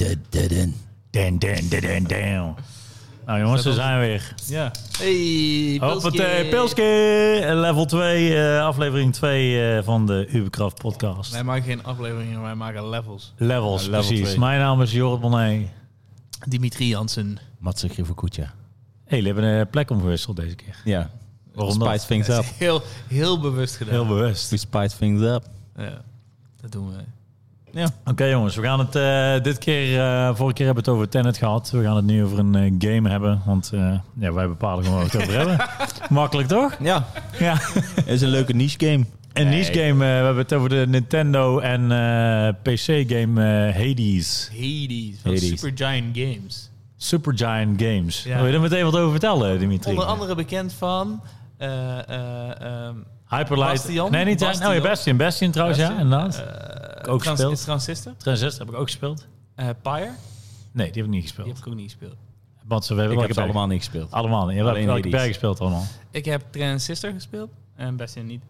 Dan, dan, dan, dan, dan. Nou jongens, ze zijn weer. Ja. Hey, Pilski. Hoppatee, Pilske. Level 2, eh, aflevering 2 eh, van de Uberkraft podcast. Wij maken geen afleveringen, wij maken levels. Levels, Ja, level precies. twee. Mijn naam is Jorrit Monet. Dimitri Jansen. Matze Grievelkoetje. hey, jullie hebben een plek omgewisseld deze keer. Ja. Waarom spice dat? things up. Heel, heel bewust gedaan. Heel bewust. We spice things up. Ja, dat doen we. Oké jongens, we gaan het eh, dit keer, eh, vorige keer hebben we het over Tenet gehad. We gaan het nu over een eh, game hebben, want eh, ja, wij bepalen gewoon waar we het over hebben. Makkelijk toch? Ja. Ja. Is een leuke niche game. Een niche game, eh, we hebben het over de Nintendo en PC game eh, Hades. Hades van Hades. Super Giant Games. Supergiant Games. Ja. Wil je er meteen wat over vertellen, Dimitri? Onder andere bekend van... eh, eh, ehm, Hyperlight. Bastion? Nee, niet Bastion. Oh, ja, Bastion. Bastion trouwens, eh, ja, inderdaad. eh, ook Trans- gespeeld. Transistor. Transist heb ik ook gespeeld. Eh, Pyre. Nee, die heb ik niet Die heb gespeeld. ik ook niet gespeeld. Want ze hebben Ik welke heb ze berg- allemaal niet gespeeld. Allemaal. Je hebt Alleen welke Hades. berg gespeeld allemaal. Ik heb Transistor gespeeld. En Bastion niet.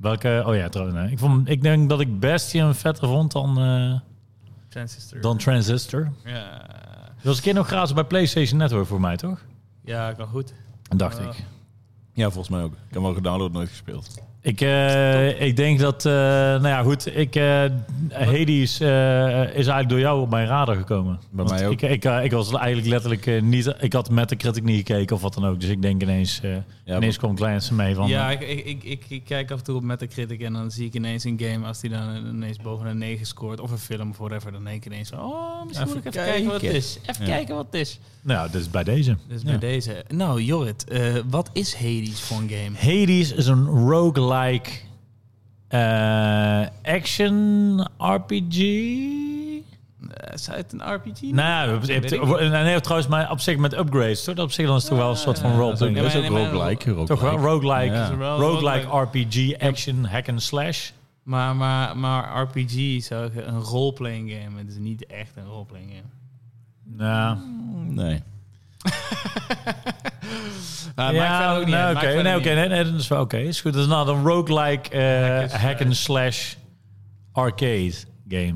Welke? Oh ja, trouwens. nee. Ik, vond, ik denk dat ik Bastion vetter vond dan, eh, Transistor. dan Transistor. Ja, Dat was een keer nog gratis bij PlayStation Network voor mij, toch? ja kan goed. Dacht Ja. ik. Ja, volgens mij ook. Ik heb wel gedownload, nooit gespeeld. Ik, eh, ik denk dat, eh, nou ja, goed. Ik, eh Hades eh, is eigenlijk door jou op mijn radar gekomen. Bij mij ook. Ik, ik, eh, ik was eigenlijk letterlijk eh, niet. Ik had met de critic niet gekeken of wat dan ook. Dus ik denk ineens. eh maar- ineens komt Clients mee van. ja, eh, ik, ik, ik, ik, ik kijk af en toe op Metacritic en dan zie ik ineens een game als die dan ineens boven een 9 scoort of een film of whatever. Dan denk ik ineens van, oh, misschien moet ik Even even kijken wat het kijken. is. Even kijken wat het is. nou, dus bij deze. Dus Ja. bij deze. Nou, Jorrit, eh, wat is Hades voor een game? Hades is een roguelike eh, action RPG. Eh, is het een RPG? Nou, ja, weet het- ik. het- nee, trouwens, maar op zich met upgrades. Toch? Op zich dan is het toch wel een soort van Dat is ook, roleplay. dat is ook Ja, maar- roguelike. Toch wel? Roguelike. Ja. Wel Roguelike RPG, action, hack and slash. Maar, maar, maar RPG zou ik een roleplaying game. Het is niet echt een roleplaying game. Nou, Nee. Ah, maakt verder ook niet uit, nou, oké. maakt verder Nee, niet oké. uit. Nee, nee, dat is wel oké. Is goed. Dat is nou een roguelike eh slash. hack and slash arcade game.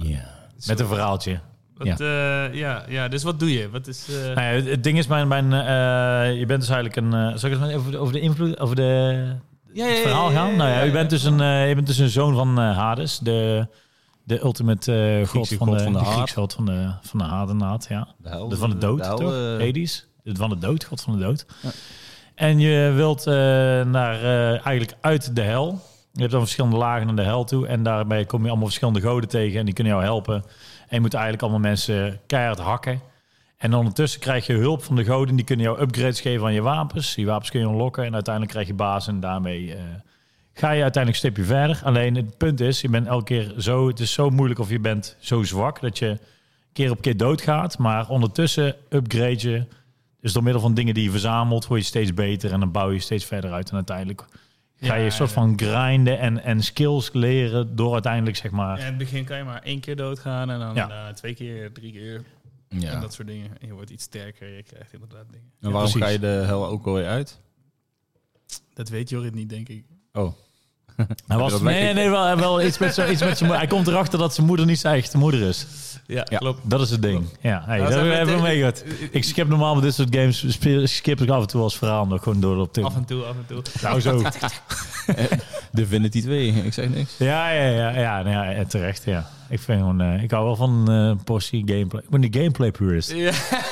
Ja. Met een verhaaltje. Wat, eh, ja, ja, dus wat doe je? Wat is... eh, Nou ja, het, het ding is, mijn, mijn, eh, je bent dus eigenlijk een... eh zal ik het maar over, de- over de invloed, over de, ja, het verhaal gaan? Nou ja, je bent dus een, eh, je bent dus een zoon van eh, Hades, de, de ultimate eh, god, Griekse van god de, van de de haat. Griekse god van de, van de haat inderdaad, ja. De hel- De van de dood, de hel, toch? eh, Hades. De van de dood, god van de dood. En je wilt eh, naar, eh, eigenlijk uit de hel. Je hebt dan verschillende lagen naar de hel toe. En daarbij kom je allemaal verschillende goden tegen. En die kunnen jou helpen. En je moet eigenlijk allemaal mensen keihard hakken. En ondertussen krijg je hulp van de goden. Die kunnen jou upgrades geven aan je wapens. Die wapens kun je unlocken. En uiteindelijk krijg je baas. En daarmee eh, ga je uiteindelijk een stipje verder. Alleen het punt is, je bent elke keer zo... Het is zo moeilijk of je bent zo zwak dat je keer op keer doodgaat. Maar ondertussen upgrade je. Dus door middel van dingen die je verzamelt, word je steeds beter. En dan bouw je steeds verder uit. En uiteindelijk ga je Ja, een soort ja. van grinden en, en skills leren door uiteindelijk, zeg maar... In het begin kan je maar één keer doodgaan en dan Ja. eh, twee keer, drie keer en Ja. dat soort dingen. En je wordt iets sterker, je krijgt inderdaad dingen. En waarom precies. ga je de hel ook alweer uit? Dat weet Jorrit niet, denk ik. Oh. Hij was, Dat nee, weet nee, ik. nee, wel, wel iets met zijn iets met zijn moeder. Hij komt erachter dat zijn moeder niet zijn echte moeder is. Ja, Ja. klopt. Dat is het ding. Ja, hey, Dat dat zijn we hebben we tegen- meegehad. Ik skip normaal met dit soort games, spe- skip ik af en toe als verhaal nog gewoon door op dit. Af en toe, af en toe. Nou zo. Divinity 2. Ik zeg niks. Ja, ja, ja, ja, nou ja, en terecht, ja. Ik vind gewoon, eh, ik hou wel van eh, een portie gameplay. Ik ben die gameplay purist. Ja.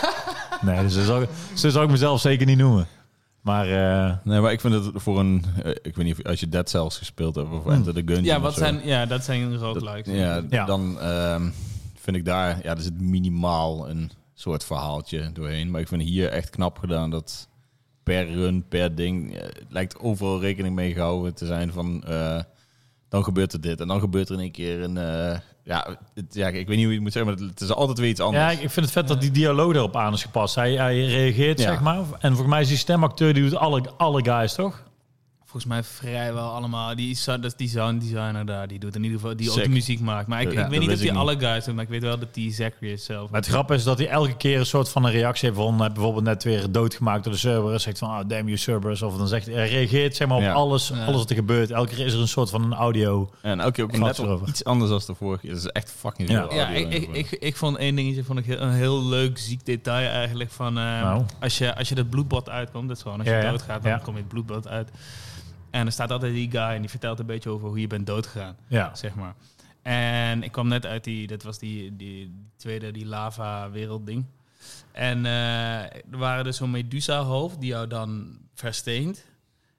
Nee, dus zo zou, ik- zo zou ik mezelf zeker niet noemen. Maar eh, Nee, maar ik vind het voor een... eh, Ik weet niet of als je Dead Cells gespeeld hebt of Enter the Gungeon Ja, of wat zo. zijn, ja, dat zijn Dat- roguelikes. ja, Ja. dan ehm, vind ik daar, ja, er zit minimaal een soort verhaaltje doorheen. Maar ik vind hier echt knap gedaan dat per run, per ding, eh, het lijkt overal rekening mee gehouden te zijn van, eh, dan gebeurt er dit en dan gebeurt er in één keer een, eh, ja, het- ja, ik weet niet hoe je het moet zeggen, maar het is altijd weer iets ja, anders. ik ik vind het vet dat die dialoog erop aan is gepast. Hij, hij reageert, Ja. zeg maar. En volgens mij is die stemacteur, die doet alle, alle guys, toch? volgens mij vrijwel allemaal. Die, is- dat is die sound designer daar, die doet in ieder geval, die ook Sick. de muziek maakt. Maar ik, Ja, ik dat weet niet wist of die ik alle guys doet, maar ik weet wel dat die Zachary is zelf. Maar het grap is dat hij elke keer een soort van een reactie heeft van eh, bijvoorbeeld net weer doodgemaakt door de Cerberus. Zegt van, ah, damn you Cerberus. Of dan zegt hij, hij reageert zeg maar op Ja. alles, Ja. alles wat er gebeurt. Elke keer is er een soort van een audio. En elke keer ook Ik net had wel erover. iets anders dan de vorige keer. Dat is echt fucking Ja. veel ja, audio ik, ik, daarvoor. ik, ik vond één dingetje vond ik heel, een heel leuk ziek detail eigenlijk. Van, eh, Nou. als, je, als je dat bloedbad uitkomt, dat is gewoon als Ja, je ja. doodgaat, dan Ja. kom je het bloedbad uit. En er staat altijd die guy en die vertelt een beetje over hoe je bent doodgegaan, Ja. zeg maar. En ik kwam net uit die, dat was die, die tweede, die lava wereldding. En eh, er waren dus zo'n Medusa hoofd die jou dan versteent.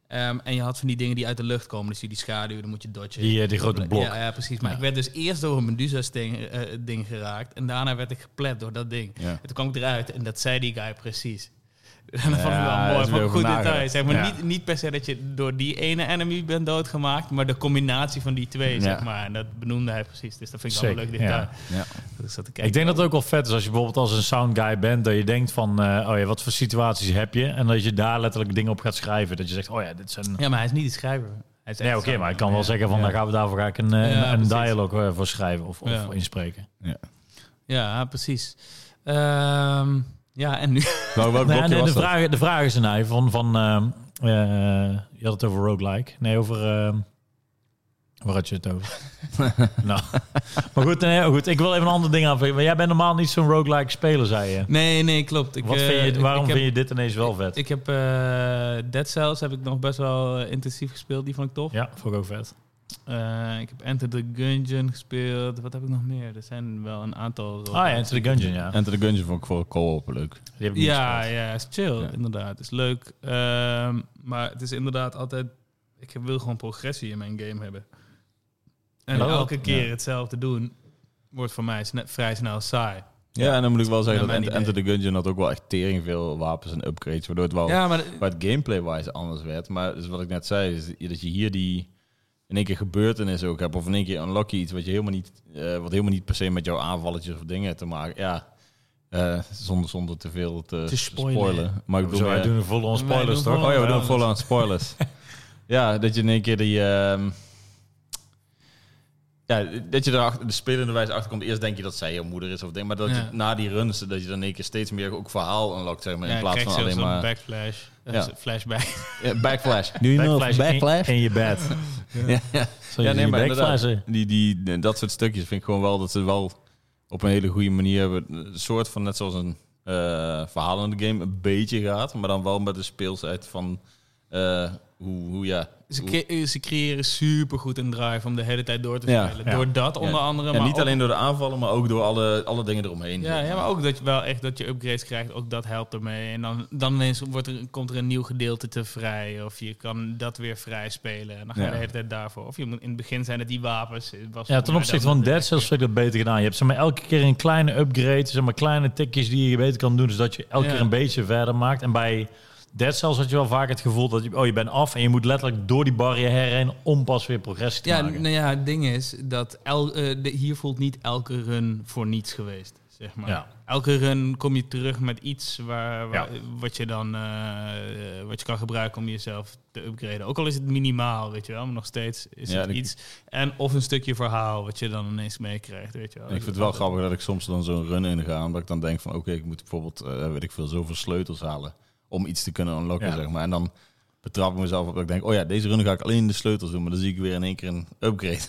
Ehm, en je had van die dingen die uit de lucht komen. Dus die, die schaduw, dan moet je dodgen. Die, eh, die grote blok. Ja, ja, precies. Maar Ja. ik werd dus eerst door een Medusa-ding ding geraakt. En daarna werd ik geplet door dat ding. Ja. En toen kwam ik eruit en dat zei die guy precies. En dat vond ik wel Ja, dat mooi. Vond is ik weer een goed over detail. nagedacht. Zeg maar, Ja. niet, niet per se dat je door die ene enemy bent doodgemaakt. Maar de combinatie van die twee, Ja. zeg maar. En dat benoemde hij precies. Dus dat vind ik wel een Zeker, leuk detail. ja. Ja. Dat ik zat te kijken. Ik denk dat het ook wel vet is als je bijvoorbeeld als een sound guy bent, dat je denkt van, eh, oh ja, wat voor situaties heb je? En dat je daar letterlijk dingen op gaat schrijven. Dat je zegt, oh ja, dit zijn... Ja, maar hij is niet de schrijver. Hij is Nee, echt oké, zo- maar ik kan wel ja. zeggen van, Ja. daar gaan we daarvoor ga ik een, eh, Ja, een, een precies. dialogue eh, voor schrijven of, of Ja. voor inspreken. Ja, precies. Ehm, ja, en nu... Wel, welk Nee, blokje nee, was de, dat? vraag, de vraag is nou van, van ehm, eh, je had het over roguelike. Nee, over... ehm waar had je het over? nou, maar goed, nee, goed, ik wil even een ander ding aanvliegen. Maar jij bent normaal niet zo'n roguelike speler, zei je. Nee, nee, klopt. Ik, Wat eh, vind je, ik- waarom ik heb- vind je dit ineens wel vet? Ik heb eh, Dead Cells heb ik nog best wel eh, intensief gespeeld. Die vond ik tof. ja, vond ik ook vet. Eh, ik heb Enter the Gungeon gespeeld. Wat heb ik nog meer? Er zijn wel een aantal. Ah ja, Into the Gungeon, ja. Enter the Gungeon vond ik voor co-op leuk. Die heb ik niet Ja, gespeeld. ja, is chill. Ja. Inderdaad, is leuk. Ehm, maar het is inderdaad altijd... Ik wil gewoon progressie in mijn game hebben. En Ja. elke keer Ja. hetzelfde doen... wordt voor mij sne- vrij snel saai. Ja, en dan moet ik wel zeggen Naar dat mijn Enter, Enter the Gungeon had ook wel echt tering veel wapens en upgrades, waardoor het wel Ja, maar... waar het gameplay-wise anders werd. Maar dus wat ik net zei, is dat je hier die in één keer gebeurtenissen ook hebt. Of in één keer unlock je iets wat, je helemaal niet, eh, wat helemaal niet per se met jouw aanvalletjes of dingen te maken. Ja, eh, zonder, zonder te veel te, Te spoilen. Maar ik Zo, bedoel, wij eh, doen eh, een volle on Wij spoilers, doen toch? volle- oh ja, we doen Anders. vol aan spoilers. ja, dat je in één keer die... ehm, ja, dat je erachter, de spelende wijze achterkomt. Eerst denk je dat zij jouw moeder is of ding. Maar dat Ja. je na die runs, dat je dan in één keer steeds meer ook verhaal unlockt. Zeg maar, ja, in plaats van krijg je alleen zo'n maar... backflash. eh, Ja. Flashback. Ja, backflash. Nu Backflash in- In, je bed. ja. Zal je die backflashen? inderdaad. Die, die, dat soort stukjes vind ik gewoon wel dat ze wel op een hele goede manier hebben. Een soort van net zoals een eh verhaal in de game een beetje gaat, maar dan wel met de speelsheid van eh, hoe, hoe ja. Ze, hoe- cre- eh, ze creëren supergoed een drive om de hele tijd door te Ja, spelen. ja. Door dat ja. onder andere. En maar niet ook- alleen door de aanvallen, maar ook door alle, alle dingen eromheen. Ja, ja, maar ook dat je wel echt dat je upgrades krijgt, ook dat helpt ermee. En dan, dan ineens wordt er, komt er een nieuw gedeelte te vrij. Of je kan dat weer vrij spelen. En dan ga je Ja. de hele tijd daarvoor. Of je moet in het begin zijn dat die wapens. eh, Was Ja, ten opzichte van Dead Cells heb ik dat beter gedaan. Je hebt zeg maar, elke keer een kleine upgrade, zeg maar, kleine tikjes die je beter kan doen, zodat je elke Ja. keer een beetje verder maakt. En bij Dead Cells had je wel vaak het gevoel dat je, oh, je bent af en je moet letterlijk door die barrière heen om pas weer progressie te Ja, maken. nou ja, het ding is dat el, eh, de, hier voelt niet elke run voor niets geweest. Zeg maar. Ja. Elke run kom je terug met iets waar, waar- Ja. wat, je dan, eh, eh, wat je kan gebruiken om jezelf te upgraden. Ook al is het minimaal, weet je wel, maar nog steeds is Ja, het en ik- iets. En of een stukje verhaal wat je dan ineens meekrijgt, weet je wel. Ik vind het wel grappig dat ik soms dan zo'n run inga, omdat ik dan denk van oké, ik moet bijvoorbeeld, eh, weet ik veel, zoveel sleutels halen om iets te kunnen unlocken, Ja. zeg maar. En dan betrap ik mezelf op dat ik denk, oh ja, deze run ga ik alleen de sleutels doen, maar dan zie ik weer in één keer een upgrade.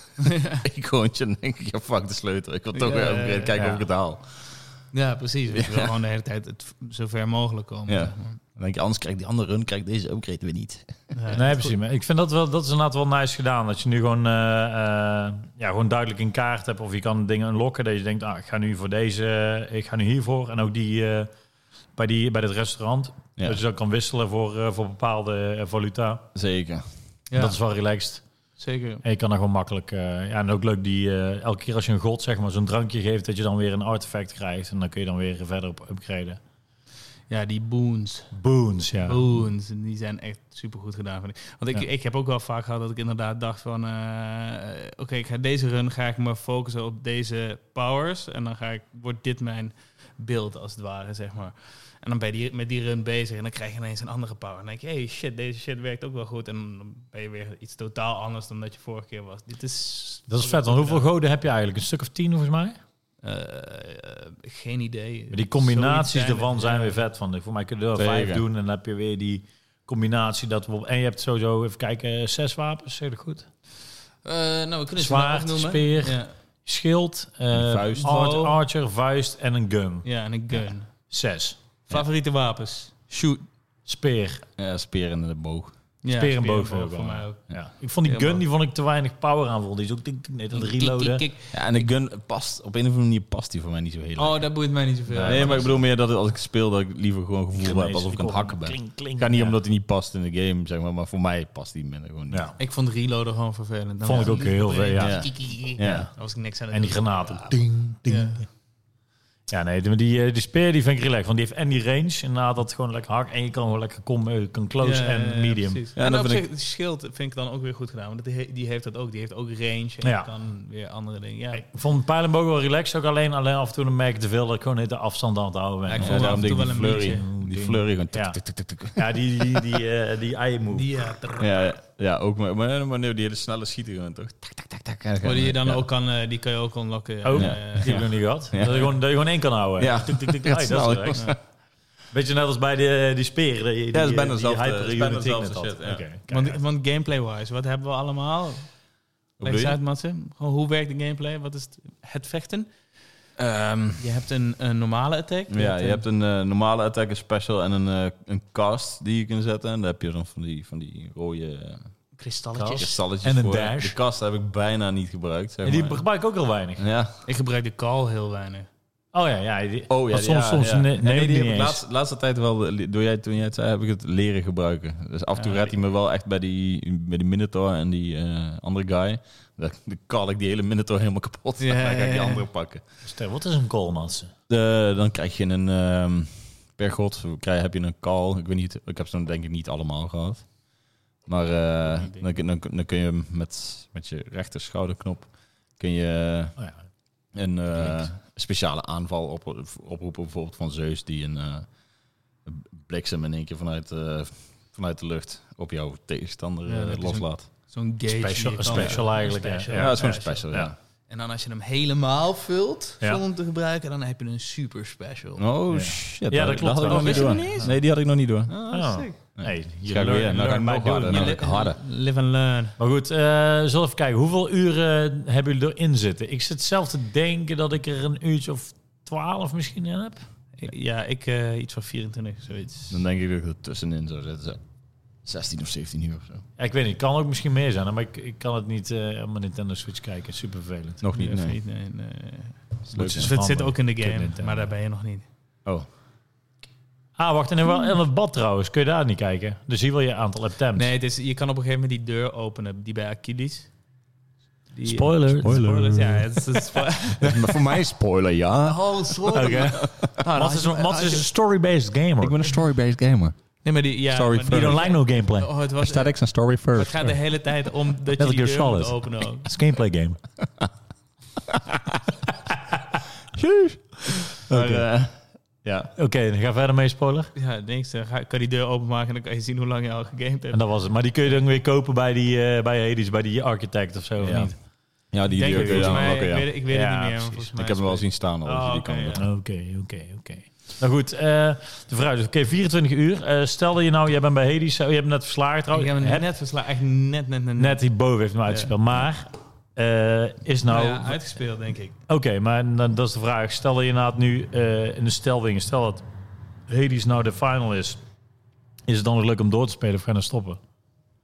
ik goontje en denk ik, ja fuck de sleutel, ik wil toch Ja, weer ja, een upgrade, ja. kijken Ja. of ik het haal. Ja, precies. Weet je wel, gewoon de hele tijd het v- zo ver mogelijk komen. Ja. zeg maar. Dan denk je, anders krijg ik die andere run, krijg ik deze upgrade weer niet. Ja. Nee, precies. Maar ik vind dat wel, dat is inderdaad wel nice gedaan. Dat je nu gewoon, eh, eh, ja, gewoon duidelijk in kaart hebt. Of je kan dingen unlocken. Dat je denkt, ah, ik ga nu voor deze, eh, ik ga nu hiervoor. En ook die, eh, bij, die bij het restaurant. Ja. Dat je dan kan wisselen voor, eh, voor bepaalde eh, valuta. Zeker. Ja, Dat is wel relaxed. zeker. En je kan dan gewoon makkelijk. eh, ja, en ook leuk die eh, elke keer als je een god zeg maar zo'n drankje geeft, dat je dan weer een artefact krijgt. En dan kun je dan weer verder op upgraden. Ja, die boons. Boons, ja. Boons. En Die zijn echt supergoed gedaan. Vind ik. Want ik, Ja. ik heb ook wel vaak gehad dat ik inderdaad dacht van... eh, Oké, ik ga deze run ga ik me focussen op deze powers. En dan ga ik, wordt dit mijn beeld als het ware, zeg maar. En dan ben je die, met die run bezig en dan krijg je ineens een andere power. En dan denk je, hey shit, deze shit werkt ook wel goed. En dan ben je weer iets totaal anders dan dat je vorige keer was. Dit is... Dat is vet. Want hoeveel goden heb je eigenlijk? Een stuk of tien volgens mij? Eh, geen idee. Maar die combinaties Zoiets ervan het, zijn ja. weer vet. Van. Voor mij kun je er wel Zeker. vijf doen en dan heb je weer die combinatie. Dat we op, en je hebt sowieso, even kijken, eh, zes wapens, zeg ik dat goed. Eh, nou, we kunnen ze Zwaard, maar afnoemen. speer. Ja. Schild, eh, vuist. art- Oh. archer, vuist en een gun. Ja, en een gun. Zes. Favoriete wapens? Shoot. Speer. Ja, speren en de boog. Ja, Speer en boog voor, ook wel. mij ook. Ja. Ik vond die Helemaal. gun, die vond ik te weinig power aan. Vond. Die is ook tik, tik, nee, dat reloaden. Kik, kik, kik. Ja, en de gun past, op een of andere manier past die voor mij niet zo heel erg. Oh, dat boeit mij niet zoveel. nee, maar ik bedoel meer dat het, als ik speel, dat ik liever gewoon gevoel heb Genezen, alsof ik aan het hakken ben. Kling, kling. Ik ga niet Ja. omdat hij niet past in de game, zeg maar, maar voor mij past die minder gewoon niet. Ja. Ik vond reloaden gewoon vervelend. Dan Vond ik was- ook heel veel, ja. Ja. Kik, kik, kik. Ja. Dan was ik niks aan het En die doen. granaten. Ding, ding. Ja. Ja, nee, die, die, eh, die speer die vind ik relaxed. Want die heeft en die range. En na dat gewoon lekker hak. En je kan gewoon lekker com, eh, kan close Ja, en ja, ja, medium. precies. Ja, en dan op vind zich, het schild vind ik dan ook weer goed gedaan. Want die, he- die heeft dat ook. Die heeft ook range en Ja. je kan weer andere dingen. Ja, Ik vond Pijlenboog wel relaxed. Ook alleen, alleen af en toe dan merk ik te veel dat ik gewoon niet de afstand aan het houden ben. Ja, Ja, ik Ja, vond daarom af en denk toe ik die wel een flurry, beetje. die flurry gewoon tik, Ja. tik, tik, tik, tik. die, die, die, eh, die eye move. die, ja, trrr. Ja, ja, ook maar, maar, maar nee, die hele snelle schieten gewoon toch? Tak, tak, tak, tak. Ja, Maar die, je dan ja. ook kan, eh, die kan je ook unlocken. ja. Oh, Ja, die ja, heb ik nog niet gehad. Ja. Dat, je gewoon, dat je gewoon één kan houden. Ja. Tik, tik, tik, Ja, ai, dat snel. is relaxed. Beetje net als bij die, die speer. Die, die, dat is bijna die hetzelfde- hyper- het is bijna unity net hetzelfde had. shit, ja. Oké, kijk Want, uit. want gameplay-wise, wat hebben we allemaal? Wat Leg bedoel eens je? uit, Matze. Gewoon, hoe werkt de gameplay? Wat is het, het vechten? Ehm, Je hebt een, een normale attack. Ja, je een- hebt een eh, normale attack, een special en een, eh, een cast die je kunt zetten. En daar heb je dan van die, van die rode eh, kristalletjes. Kast. kristalletjes En een voor. dash. De cast heb ik bijna niet gebruikt, zeg En die maar. gebruik ik ook heel weinig. Ja. Ik gebruik de call heel weinig. Oh ja, ja. Die, Oh ja, want soms, ja, soms ja. ne- Ja, neem nee, ik die die heb niet ik eens. laatst- laatste tijd wel, de- door jij, toen jij het zei, heb ik het leren gebruiken. Dus af en toe Ja, raadt hij me wel echt bij die, bij die Minotaur en die eh, andere guy. Dan dan kan ik die hele Minotaur helemaal kapot. Ja, en dan ga ik ja, die ja. andere pakken. Stel, wat is een koolmatsen? Eh, dan krijg je een... ehm, per god krijg, heb je een call. Ik weet niet, ik heb ze dan denk ik niet allemaal gehad. Maar eh, Ik denk- dan, kun- dan, kun- dan kun je hem met, met je rechter schouderknop... kun je Oh ja. een eh, Klinkt. speciale aanval op, oproepen, bijvoorbeeld van Zeus, die een eh, bliksem in één keer vanuit, eh, vanuit de lucht op jouw tegenstander Ja, eh, dat is loslaat. Zo'n gauge. die Special- je kan- special eigenlijk, ja. Ja, dat is gewoon een special, ja. En dan als je hem helemaal vult, Ja. zonder hem te gebruiken, dan heb je een super special. Oh Ja. shit, Ja, dat klopt had ik wel. nog niet Wist je door. dat niet eens? Nee, die had ik nog niet door. Oh. Ah, sick. Nee, Ga learn- ik weer, nou ga ik learn nog by harder. doing. Ja, Je dat li- is harder. Live and learn. Maar goed, eh, zullen we even kijken. Hoeveel uren eh, hebben jullie erin zitten? Ik zit zelf te denken dat ik er een uurtje of twaalf misschien in heb. Ja, ik eh, iets van 24, zoiets. Dus Dan denk ik dat ik er tussenin zou zitten. zo. 16 of 17 uur of zo. Ja, ik weet niet, kan ook misschien meer zijn. hè, Maar ik, ik kan het niet eh, op mijn Nintendo Switch kijken. Super vervelend. Nog niet, Even nee. niet, Eh, nee, nee. Dat is leuk, ze hè? Dus het zit handig. ook in de Kid game, Nintendo. maar daar ben je nog niet. Oh, Ah, wacht. En in, wel- in het bad trouwens. Kun je daar niet kijken? Dus hier wil je aantal attempts. Nee, het is, je kan op een gegeven moment die deur openen, die bij Achilles. Die- Spoiler. Spoilers, ja. Het is, het is spo- maar voor mij spoiler, ja. oh, sorry. Wat is, wat is een story-based gamer? Ik ben een story-based gamer. Nee, maar die, ja, Sorry maar You die- don't like no gameplay. Oh, het, was, Statics en story het first. gaat de hele tijd om dat je Metal die dus deur Gear moet Solid. openen ook. Het is een gameplay game. Maar, eh, ja. Oké, dan ga verder mee, spoiler. Ja, niks. Dan ga, kan die deur openmaken en dan kan je zien hoe lang je al gegamed hebt. En dat was het. Maar die kun je dan weer kopen bij die eh, bij Hades, bij die architect of zo. of Ja. niet? ja, die Denk deur ik, kun je volgens dan mij, ook, ja. ik weet, het- ik weet Ja, het niet meer. precies. Volgens Ik mij heb hem wel is het- zien staan al. Oh, die oké, kan ja. doen. Oké, oké, oké. Nou goed, eh, de vooruit. Oké, 24 uur. Eh, stel dat je nou, jij bent bij Hades, zo, je hebt hem net verslagen Ik trouwens. heb Hè? hem Oh, net verslagen. Echt net, net, net. Net die boven heeft hem uitgespeeld. Maar eh, is nou... Nou, ja, uitgespeeld, denk ik. Oké, maar dan, dat is de vraag. Stel dat je nou nu eh, in de stelwingen, stel dat Hades nou de final is. Is het dan nog leuk om door te spelen of gaan we dan stoppen?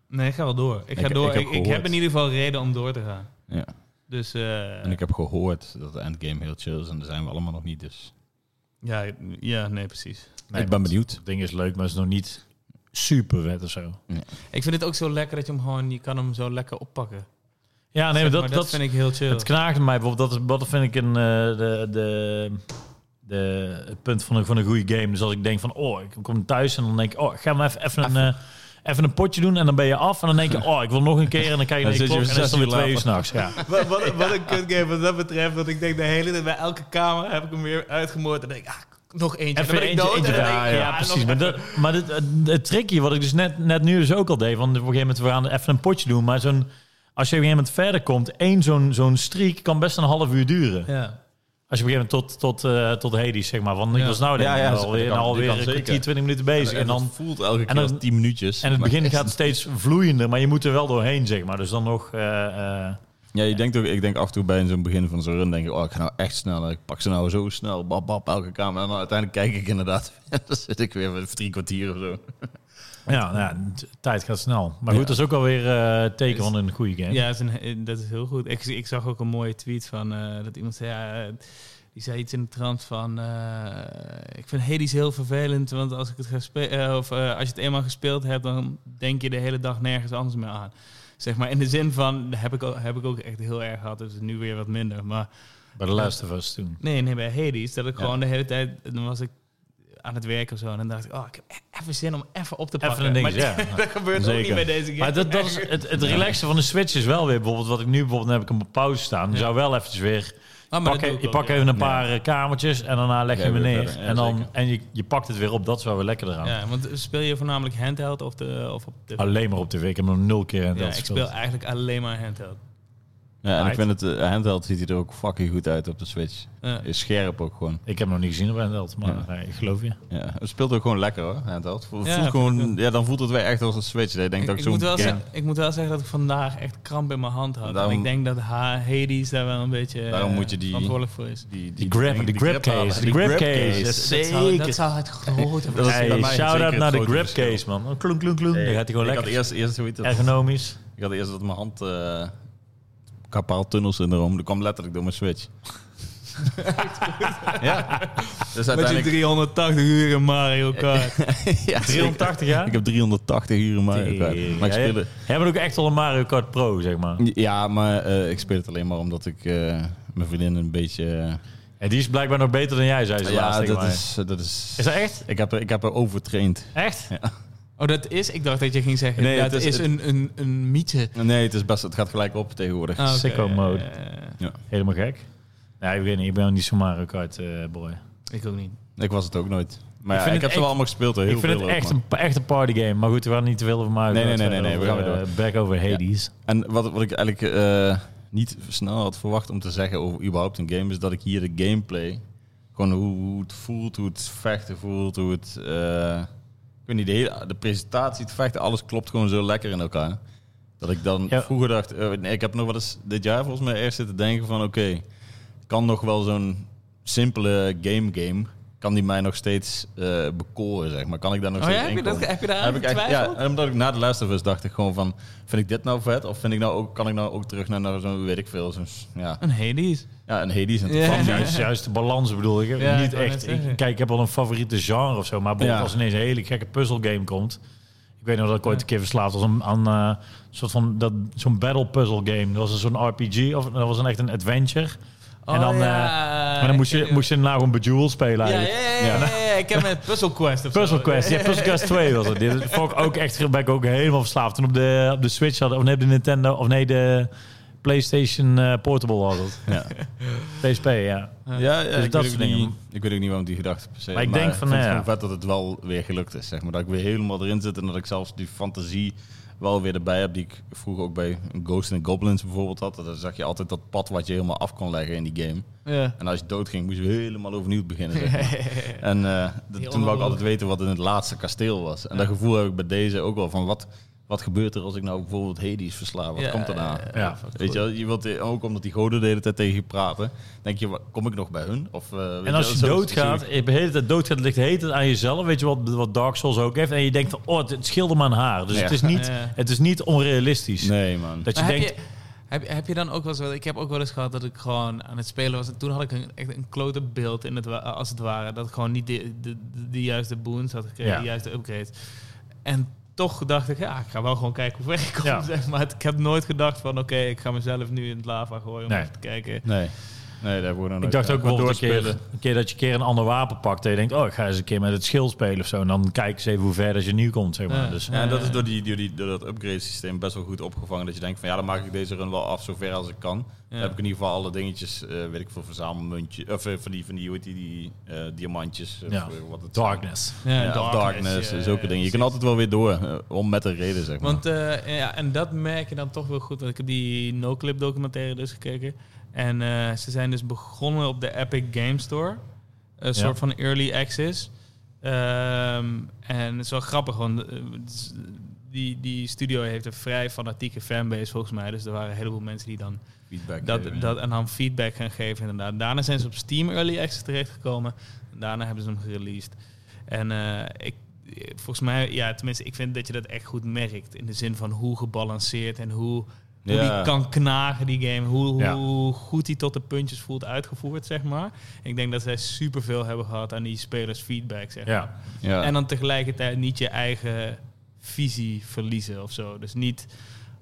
Nee, ik ga wel door. Ik ga Ik- door. ik Ik, heb ik, gehoord. heb in ieder geval reden om door te gaan. Ja. Dus eh, En ik heb gehoord dat de endgame heel chill is en daar zijn we allemaal nog niet. Dus ja, ja, nee, precies. ik ben benieuwd. Het ding is leuk, maar het is nog niet super vet of zo. Ik vind het ook zo lekker dat je hem gewoon, je kan hem zo lekker oppakken. Ja, nee, maar Zeg dat, maar, dat, vind ik heel chill. Het knaagde mij bijvoorbeeld. Dat, is- dat vind ik in eh, de, de de, het punt van een, van een goede game. Dus als ik denk van, oh, ik kom thuis en dan denk ik, oh, ik ga maar even, even, een, eh, even een potje doen en dan ben je af. En dan denk je, oh, ik wil nog een keer en dan kijk je naar Dan de zit je klok en dan is het weer zes uur twee uur s'nachts. Ja. Wat, wat, wat een kut game wat dat betreft. Dat ik denk de hele tijd bij elke kamer heb ik hem weer uitgemoord. En denk ik, ah, nog eentje. Even dan ben ik eentje, dood. eentje en dan weg. denk ik, ah, ja, nog precies. Maar, dat, maar dit, het, het trickje, wat ik dus net, net nu dus ook al deed, van op een gegeven moment we gaan even een potje doen, maar zo'n, als je op een gegeven moment verder komt, één zo'n, zo'n streak kan best een half uur duren. Ja. Als je op een gegeven moment tot, tot, eh, tot Hades, zeg maar, want ik Ja. was nou denk Ja, ik ja, wel dat alweer, kan- nou die alweer kan een zeker. kwartier, twintig minuten bezig. En, dan, voelt elke en keer dan- als 10 minuutjes. en het Maar begin echt- gaat steeds vloeiender, maar je moet er wel doorheen, zeg maar. Dus dan nog... eh, eh, Ja, je denkt ook, ik denk af en toe bij zo'n begin van zo'n run, denk ik, oh, ik ga nou echt snel, ik pak ze nou zo snel, bab, bab, elke kamer. En dan uiteindelijk kijk ik inderdaad, dan zit ik weer voor drie kwartier of zo. ja, nou ja, t- tijd gaat snel. Maar goed, Ja. dat is ook alweer eh teken Is- van een goede game. Ja, dat is, een, he- dat is heel goed. Ik, ik zag ook een mooie tweet van eh, dat iemand zei, ja, eh, die zei iets in de trant van, eh, ik vind Hades heel vervelend, want als ik het ga spe- eh, of eh, als je het eenmaal gespeeld hebt, dan denk je de hele dag nergens anders meer aan. Zeg maar in de zin van, heb ik ook, heb ik ook echt heel erg gehad, dus nu weer wat minder. Maar Bij de Last of Us toen. nee, nee, bij Hades, dat ik Ja. gewoon de hele tijd, dan was ik aan het werken of zo, en dan dacht ik, oh, ik heb e- even zin om even op te Even pakken. een ding, maar ja. dat gebeurt ook Zeker. niet bij deze game. Maar dat, dat is, het, het relaxen van de Switch is wel weer bijvoorbeeld wat ik nu bijvoorbeeld dan heb ik hem op pauze staan. Je zou wel eventjes weer. Ah, maar dat pak, doe e- ik je ook, pakt ja. even een paar eh, kamertjes en daarna leg je Ja, hem weer neer. verder. Ja, en dan, zeker. en je, je pakt het weer op. Dat is wel weer lekker eraan. Ja, want speel je voornamelijk handheld of, de, of op de... Alleen maar op tv. Ik heb hem nul keer aan ja, dat ik speel eigenlijk alleen maar handheld. Ja, en ik Right. vind het, eh, handheld ziet hij er ook fucking goed uit op de Switch. Ja. Is scherp ook gewoon. Ik heb hem nog niet gezien op handheld, maar Ja. eh, ik geloof je. Ja, het speelt ook gewoon lekker hoor, handheld. Voelt Ja, voelt gewoon, ja, dan voelt het weer echt als een Switch. Ik denk Ik, dat ik ik moet zo'n wel game- zeggen, ik moet wel zeggen dat ik vandaag echt kramp in mijn hand had. Daarom- en ik denk dat ha- Hades daar wel een beetje eh, Daarom moet je die- verantwoordelijk voor is. die, Die grab, de grab case. De grab case. Dat Yes, is Dat zou, dat Zeker. zou het grote Dat is bij Hey, mij shout out zeker naar het de grote grab verschil. case, man. Oh, klunk, klunk, klunk. Dan gaat hij gewoon ik had lekker. eerst, eerst zoiets dat- Ergonomisch. Ik had eerst dat mijn hand eh kapaal tunnel syndroom. Dat kwam letterlijk door mijn switch. ja. Met Dus je uiteindelijk 380 uur in Mario Kart. ja, 380 zeker. jaar? Ik heb 380 uur in Mario Tering. Kart. Maar ik Mm. Ja, speel je- het, Hebben we ook echt al een Mario Kart Pro, zeg maar. ja, maar eh, ik speel het alleen maar omdat ik eh, mijn vriendin een beetje. eh, En die is blijkbaar nog beter dan jij, zei ze laatst ja, tegen dat mij. is, dat is. Is dat echt? Ik heb, er- ik heb er overtraind. Echt? Oh, dat is? Ik dacht dat je ging zeggen, Nee, dat het is, is- het- een, een, een mythe. Nee, het is best. Het gaat gelijk op tegenwoordig. Ah, oké. Sicko mode. Eh, Helemaal gek. Nee, ik weet niet. Ik ben ook niet zo'n Mario Kart eh, boy. ik ook niet. Ik was het ook nooit. Maar Ik vind ja, ik, het heb ze echt- wel allemaal gespeeld. hoor. Heel ik vind veel het ook, echt maar- een, echt een party game. Maar goed, we gaan niet te veel over Mario Nee, Kart. nee, nee, eh, nee, nee, we over, gaan weer eh, Back over Hades. En wat, wat ik eigenlijk eh, niet snel had verwacht om te zeggen over überhaupt een game, is dat ik hier de gameplay, gewoon hoe, hoe het voelt, hoe het vechten voelt, hoe het... eh, ik weet niet, de, hele, de presentatie, het vechten, alles klopt gewoon zo lekker in elkaar. Dat ik dan Ja. vroeger dacht, eh, nee, ik heb nog wel eens dit jaar volgens mij eerst zitten denken van oké, kan nog wel zo'n simpele game game, kan die mij nog steeds eh, bekoren, zeg maar. Kan ik daar nog Oh ja, steeds heb je, in dat, komen? heb je daar Heb aan ik echt, getwijfeld? ja, omdat ik na de Last of Us dacht ik gewoon van... Vind ik dit nou vet? Of vind ik nou ook, kan ik nou ook terug naar, naar zo'n, weet ik veel, zo'n... Ja, Een Hades. ja een Hades en Ja. toevallig. Ja. Juist, juist de balans bedoel ik. hè. Ja, ik niet wou net echt. Ik- zeggen. kijk, ik heb al een favoriete genre of zo. Maar bijvoorbeeld Ja. als ineens een hele gekke puzzelgame komt. Ik weet nog dat ik ooit een keer verslaafd was aan, aan eh, een soort van dat zo'n battle puzzle game. Dat was een zo'n RPG of dat was een echt een adventure. Oh, en dan, eh, maar dan moest je, moest je daarna gewoon Bejeweled spelen Ja, ja, eigenlijk. ja, ja, ja, ja, ik heb met Puzzle Quest of zo. Puzzle Quest, ja, Puzzle Quest 2 was het. Dit vond ik ook echt, ben ik ook helemaal verslaafd. Toen op de, op de Switch hadden, of nee, op de Nintendo, of nee, de PlayStation eh, Portable had het. Ja, Dus PSP, ja. ja, ja dat soort ik, weet ook niet, dingen. ik weet ook niet waarom die gedachte per se... Maar ik denk van, vind nou het ja. gewoon vet dat het wel weer gelukt is, zeg maar. Dat ik weer helemaal erin zit en dat ik zelfs die fantasie wel weer erbij heb... die ik vroeger ook bij Ghost and Goblins bijvoorbeeld had. Dan zag je altijd dat pad wat je helemaal af kon leggen in die game. Ja. En als je doodging, moest je helemaal overnieuw beginnen. zeg maar. En eh, Heel dat- toen wou ik onbelangrijk. altijd weten wat in het laatste kasteel was. En dat gevoel heb ik bij deze ook wel. Van wat, wat gebeurt er als ik nou bijvoorbeeld Hades versla? Wat Ja, komt er aan? ja, ja. Weet je, wel, je wilt eh, ook omdat die goden de hele tijd tegen je praten. Denk je, wa- kom ik nog bij hun? Of, eh, weet En als je wel, zo- doodgaat, zo- je de hele tijd doodgaat, ligt heet het aan jezelf. Weet je wat, wat Dark Souls ook heeft? En je denkt van, oh, het, het scheelde maar een haar. Dus Ja. het, is niet, Ja. het is niet onrealistisch. Nee, man. Dat je Maar heb, denkt, je, heb, heb je dan ook wel eens... wel- Ik heb ook wel eens gehad dat ik gewoon aan het spelen was. En toen had ik een, echt een klote beeld, in het, wa- als het ware. Dat ik gewoon niet de, de, de, de juiste boons had gekregen, Ja. de juiste upgrades. En toch dacht ik, ja, ik ga wel gewoon kijken hoe ver ik kom. Ja. Zeg maar het- ik heb nooit gedacht van, oké, ik ga mezelf nu in het lava gooien om Nee. even te kijken. Nee. Nee, daar worden we Ik nooit dacht gedaan. ook Gewoon bijvoorbeeld een keer, doorspelen. een keer dat je een keer een ander wapen pakt. En je denkt, oh, ik ga eens een keer met het schild spelen of zo. En dan kijk eens even hoe ver dat je nu komt, zeg maar. Ja. Dus, Ja, en dat is door, die, door, die, door dat upgrade systeem best wel goed opgevangen. Dat je denkt van ja, dan maak ik deze run wel af zover als ik kan. Dan heb ik in ieder geval alle dingetjes, eh, weet ik veel, verzamelmuntjes. Of eh, van die, van die, hoe heet die, die eh, diamantjes. of, Ja. eh, wat het darkness. Ja, of darkness, ja, zulke ja, dingen. Je precies. kan altijd wel weer door, eh, om met een reden zeg maar. Want eh, ja, en dat merk je dan toch wel goed. Want ik heb die NoClip documentaire dus gekeken. En eh, ze zijn dus begonnen op de Epic Game Store. Een Ja. soort van early access. Ehm, en het is wel grappig, want eh, het is- die, die studio heeft een vrij fanatieke fanbase volgens mij. Dus er waren een heleboel mensen die dan Feedback dat, geven, ja. dat en dan feedback gaan geven inderdaad. Daarna zijn ze op Steam Early Access terechtgekomen. Daarna hebben ze hem gereleased. En eh, ik, volgens mij, ja, tenminste, ik vind dat je dat echt goed merkt. In de zin van hoe gebalanceerd en hoe, hoe Ja. die kan knagen, die game. Hoe, Ja. hoe goed die tot de puntjes voelt uitgevoerd, zeg maar. Ik denk dat zij superveel hebben gehad aan die spelers feedback, zeg Ja. Ja. en dan tegelijkertijd niet je eigen visie verliezen of zo. Dus niet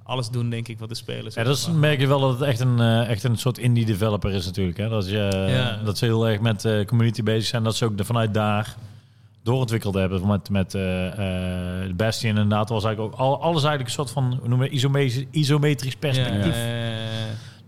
alles doen, denk ik, wat de spelers Ja, dat is, willen. merk je wel dat het echt een, eh, echt een soort indie developer is natuurlijk. Hè? Dat, je, eh, Ja. dat ze heel erg met eh, community bezig zijn. Dat ze ook de- vanuit daar doorontwikkeld hebben. Met, met eh, eh, Bastion inderdaad was eigenlijk ook al, alles eigenlijk een soort van hoe noem je, isometrisch, isometrisch perspectief. Ja, ja, ja, ja.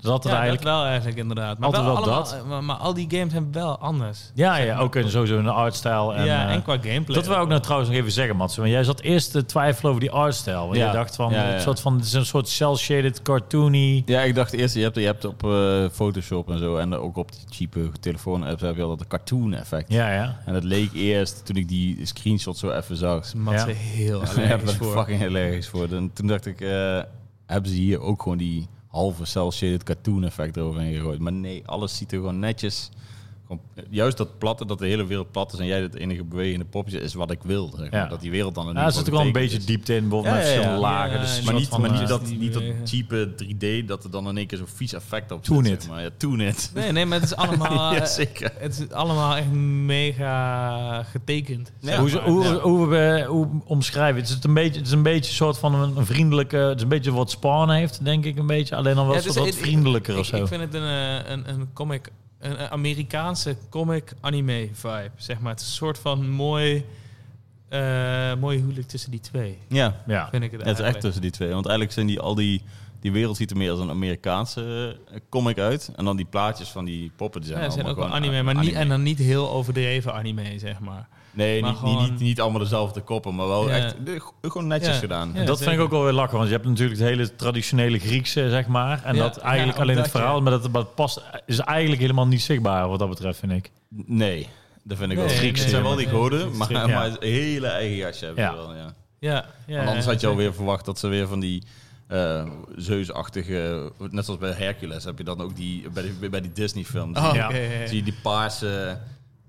Dat er Ja, eigenlijk... dat wel eigenlijk inderdaad. Maar, Altijd wel wel allemaal- Maar, maar al die games zijn wel anders. ja, ja, ook in, sowieso in de artstijl. En, ja, eh, en qua gameplay. dat wou ik nou trouwens nog even zeggen, Mats. Want jij zat eerst te twijfelen over die artstijl. Want Ja. je dacht van, Ja, ja, ja. Het, soort van, het is een soort cel-shaded cartoony... Ja, ik dacht eerst, je hebt, je hebt op eh, Photoshop en zo en ook op die cheap telefoon-apps heb je al dat cartoon effect. Ja, ja. En dat leek eerst, toen ik die screenshot zo even zag, Daar is Mats Ja. heel Ja, daar allergisch ben ik voor. fucking allergisch voor. En toen dacht ik, eh, hebben ze hier ook gewoon die halve cel-shaded cartoon effect eroverheen gegooid? Maar nee, alles ziet er gewoon netjes. Gewoon, eh, juist dat platte, dat de hele wereld plat is en jij het enige bewegende popje is wat ik wil. Zeg maar. Ja. Dat die wereld dan in Ja, er ieder zit ook wel geval een getekend beetje is. diepte in, bijvoorbeeld Ja, met ja, ja. verschillende lagen. Ja, dus ja, een Maar soort niet, van, maar eh, niet, dat, die niet dat bewegen. cheape 3D dat er dan in één keer zo'n vies effect op Tune zit. it. Zeg maar. ja, tune it. Nee, nee, maar het is allemaal... ja, eh, zeker. het is allemaal echt mega getekend. Ja. zeg hoe, maar. ze- hoe, Ja. hoe we hoe we omschrijven. Het is het een beetje, het is een beetje een soort van een, een vriendelijke. Het is een beetje wat Spawn heeft, denk ik, een beetje. Alleen dan wel Ja, dus een het is- soort wat ik- ik- vriendelijker ik, of zo. Ik vind het een, eh, een, een comic, een, een Amerikaanse comic anime vibe, zeg maar. Het is een soort van mooi, eh mooi huwelijk tussen die twee, Ja, ja. vind ik het Ja, het is echt eigenlijk. tussen die twee. Want eigenlijk zijn die al die... Die wereld ziet er meer als een Amerikaanse eh, comic uit. En dan die plaatjes van die poppen. Die zijn, Ja, het zijn ook allemaal wel gewoon anime, maar Niet, en dan niet heel overdreven anime, zeg maar. Nee, maar niet, gewoon- niet, niet, niet allemaal dezelfde koppen. Maar wel Ja. echt de- gewoon netjes Ja. gedaan. Ja. dat vind zeker. ik ook wel weer lachen, want je hebt natuurlijk het hele traditionele Griekse, zeg maar. En Ja, dat eigenlijk ja, alleen omdat het je- verhaal, maar dat, dat past, is eigenlijk helemaal niet zichtbaar wat dat betreft, vind ik. Nee, dat vind ik Nee, wel. Grieks, het zijn ja. wel die Ja. goden, maar, Ja. maar een hele eigen jasje hebben Ja. ze wel. Ja. Ja, ja Want ja, anders had je zeker. alweer verwacht dat ze weer van die... eh Zeus-achtige, net zoals bij Hercules heb je dan ook die bij die, bij die Disney-films. Oh, Ja. oké, ja, ja. Zie je die paarse,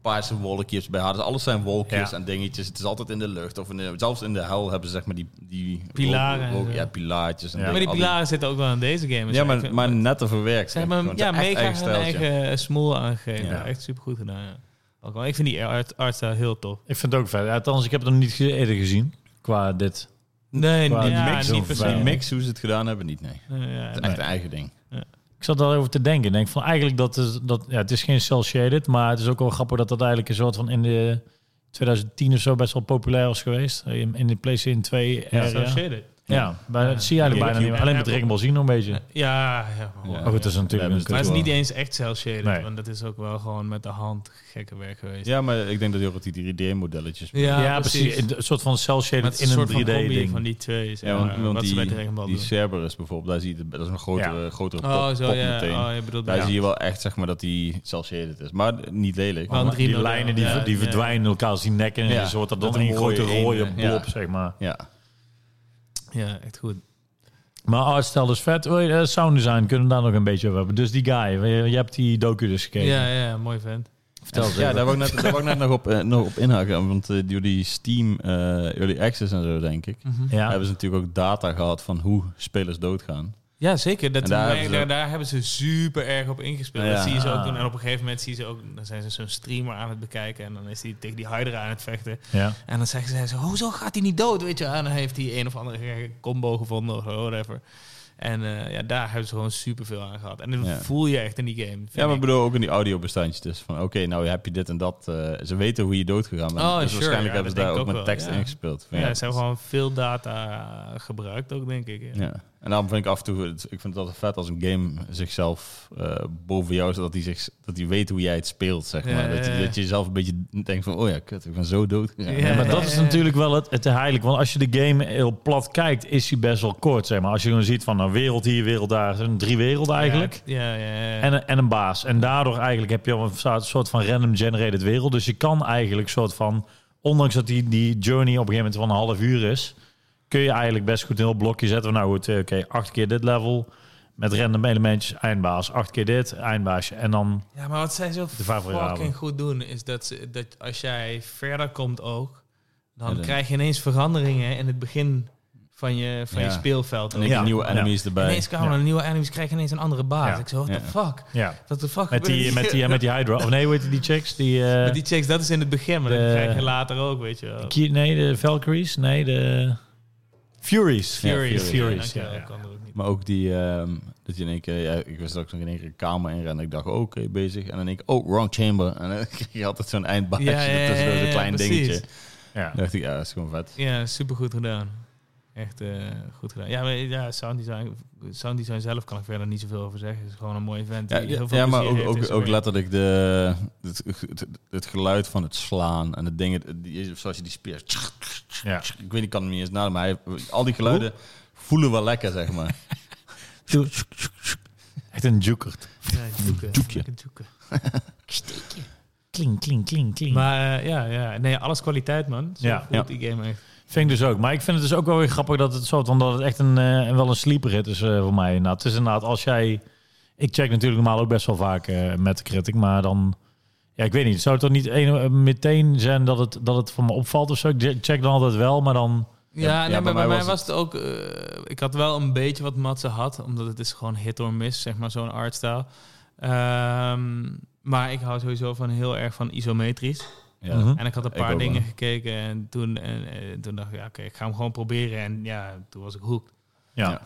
paarse wolkjes bij haar. Dus alles zijn wolkjes Ja. en dingetjes. Het is altijd in de lucht. Of in de, zelfs in de hel hebben ze zeg maar die... die Pilaren en rook- rook- zo. ja, pilaartjes. En Ja. dingen. Maar die Al pilaren zitten ook wel in deze game. dus Ja, ik maar, vind- maar netter verwerkt. Ze hebben hem Gewoon ja, echt mega eigen hun stijltje. eigen eh, smoel aangegeven. Ja. Echt supergoed gedaan, ja. Ook wel, ik vind die art, artstyle heel tof. Ik vind het ook vet. Althans, ik heb het nog niet ge- eerder gezien, qua dit. Nee, Qua niet, ja, mix niet of, per se. eh, Die mix, hoe ze het gedaan hebben, niet. Nee. Nee, ja, Het is nee. echt een eigen ding. Ik zat daarover te denken. Ik denk van eigenlijk dat is, dat ja, het is geen cel shaded, maar het is ook wel grappig dat dat eigenlijk een soort van in de 2010 of zo best wel populair was geweest in, in de PlayStation 2 Ja, area. Ja, associated. maar dat zie je eigenlijk bijna niet meer. Alleen met Dragon Ball Z nog een beetje. Ja, ja, maar, Ja. Maar goed, dat is natuurlijk Ja, een maar het is wel. niet eens echt cel-shaded. Nee. Want dat is ook wel gewoon met de hand gekke werk geweest. Ja, maar ik denk dat hij ook altijd die 3D-modelletjes... ja, precies. Een soort van cel Met shaded een in een soort van 3D combi ding. van die twee. Zeg Ja, want, maar, want wat ze bij die, Dragon Ball die doen. Cerberus bijvoorbeeld, daar zie je het- dat is een grotere, grotere pop, Oh, zo pop ja. meteen. Oh, je bedoelt daar ja. zie je wel echt zeg maar, dat die cel-shaded is. Maar niet lelijk. Wel een Maar die 3D lijnen die, model, ver- die ja. verdwijnen elkaar als die nekken en Ja, zo wordt dat dat dan een rode grote ene, rode ja. blob, zeg maar. Ja. Ja, echt goed. Maar artstijl is vet. Oh, eh, Sound design kunnen we daar nog een beetje over hebben. Dus die guy, je je hebt die docu dus gekeken. Ja, ja, mooi vent. Vertel ze Ja, even. daar wou ik net, daar wou ik net nog, op, eh, nog op inhaken. Want eh, door die Steam eh, Early Access en zo, denk ik... Ja. hebben ze natuurlijk ook data gehad van hoe spelers doodgaan. Ja, zeker. Dat En daar daar, hebben daar, ze ook- daar hebben ze super erg op ingespeeld. Ja. Dat zie je ze ook Ah. doen. En op een gegeven moment zie je ze ook, dan zijn ze zo'n streamer aan het bekijken. En dan is hij tegen die Hydra aan het vechten. Ja. En dan zeggen ze, hoezo gaat hij niet dood? Weet je, en dan heeft hij een of andere gekke combo gevonden of whatever. En eh, ja, daar hebben ze gewoon superveel aan gehad. En dat Ja. voel je echt in die game. vind Ja, maar ik. ik bedoel ook in die audiobestandjes dus. Van oké, nou heb je dit en dat. eh, ze weten hoe je doodgegaan bent. Oh, dus sure, waarschijnlijk ja, hebben ze dat daar denk ik ook met ook wel, tekst ja. ingespeeld. Van, ja, ze hebben gewoon veel data eh, gebruikt ook, denk ik. Ja. Ja. En daarom vind ik af en toe, het- ik vind het altijd vet als een game zichzelf eh, boven jou, zodat hij zich, dat hij weet hoe jij het speelt, zeg Ja, maar. dat, ja, je, ja. dat je zelf een beetje denkt van, oh ja, kut, ik ben zo dood. gegaan. Ja, Ja, maar ja, dat ja, is ja. natuurlijk wel het, het heilig. Want als je de game heel plat kijkt, is hij best wel kort. Zeg maar. Als je gewoon ziet van een wereld hier, wereld daar. zijn drie werelden eigenlijk. Ja, ja, ja, ja. En, een- en een baas. En daardoor eigenlijk heb je al een soort- soort van random generated wereld. Dus je kan eigenlijk soort van... Ondanks dat die, die journey op een gegeven moment van een half uur is... kun je eigenlijk best goed een heel blokje zetten. van, Nou goed, eh, oké, acht keer dit level... Met random elementjes, eindbaas. Acht keer dit, eindbaasje. En dan... Ja, maar wat zij zo variabelen. fucking goed doen, is dat, ze, dat als jij verder komt ook, dan Ja, dan- krijg je ineens veranderingen in het begin van je, van je Ja. speelveld. En ook. ik Ja. nieuwe enemies erbij. Ineens kwamen Ja. er nieuwe enemies, krijg je ineens een andere baas. Ja. Ik zo, what Ja. the fuck? Ja. Wat de fuck Met gebeurt die, hier? met die, met die Hydra. Of nee, hoe heet die, die chicks? Die, eh, Met die checks, dat is in het begin, maar dat de- krijg je later ook, weet je wel. Ki- nee, de Valkyries. Nee, de... Furies. Ja, De Furies. Furies, Furies, ja, ja, ja. kan er ook niet. Maar ook die, ehm, dat je in één keer, ja, ik wist dat ik nog in één keer een kamer in rende. Ik dacht, oh, oké, bezig. En dan denk ik, oh, wrong chamber. En dan kreeg je altijd zo'n eindbaasje Ja, ja, ja, tussendoor, ja, zo'n ja, klein precies. dingetje. Ja. Dan dacht ik, ja, dat is gewoon vet. Ja, supergoed gedaan. Echt eh, goed gedaan. Ja, maar, ja sound, design, sound design zelf kan ik verder niet zoveel over zeggen. Het is gewoon een mooi event. Ja, ja, ja, maar ook, ook, ook letterlijk de, het, het, het geluid van het slaan en het ding, het- die- zoals je die speer... Ja. Ik weet, ik kan hem niet eens nadenken, maar hij- al die geluiden voelen wel lekker, zeg maar. Echt een jukert. eh, Doekje. Kling, kling, kling, kling. Maar eh, ja, ja, nee, alles kwaliteit, man. Zo Ja. voelt die game echt. Vind ik dus ook. Maar ik vind het dus ook wel weer grappig dat het zo... omdat het echt een, eh, wel een sleeper hit is eh, voor mij. Nou, het is inderdaad als jij... Ik check natuurlijk normaal ook best wel vaak eh, met de critic. Maar dan... Ja, ik weet niet. Zou het toch niet een, eh, meteen zijn dat het, dat het voor me opvalt of zo? Ik check dan altijd wel, maar dan... Ja, Ja, nee, bij maar bij mij mij was was het ook... eh, ik had wel een beetje wat Matze had, omdat het is gewoon hit or miss, zeg maar, zo'n artstyle. Ehm, maar ik hou sowieso van heel erg van isometrisch. Ja. Mhm. En ik had een Hm? Ik paar ook dingen wel. gekeken en toen, en, eh, toen dacht ik, ja, oké, ik ga hem gewoon proberen. En ja, toen was ik hoek. Ja. Ja.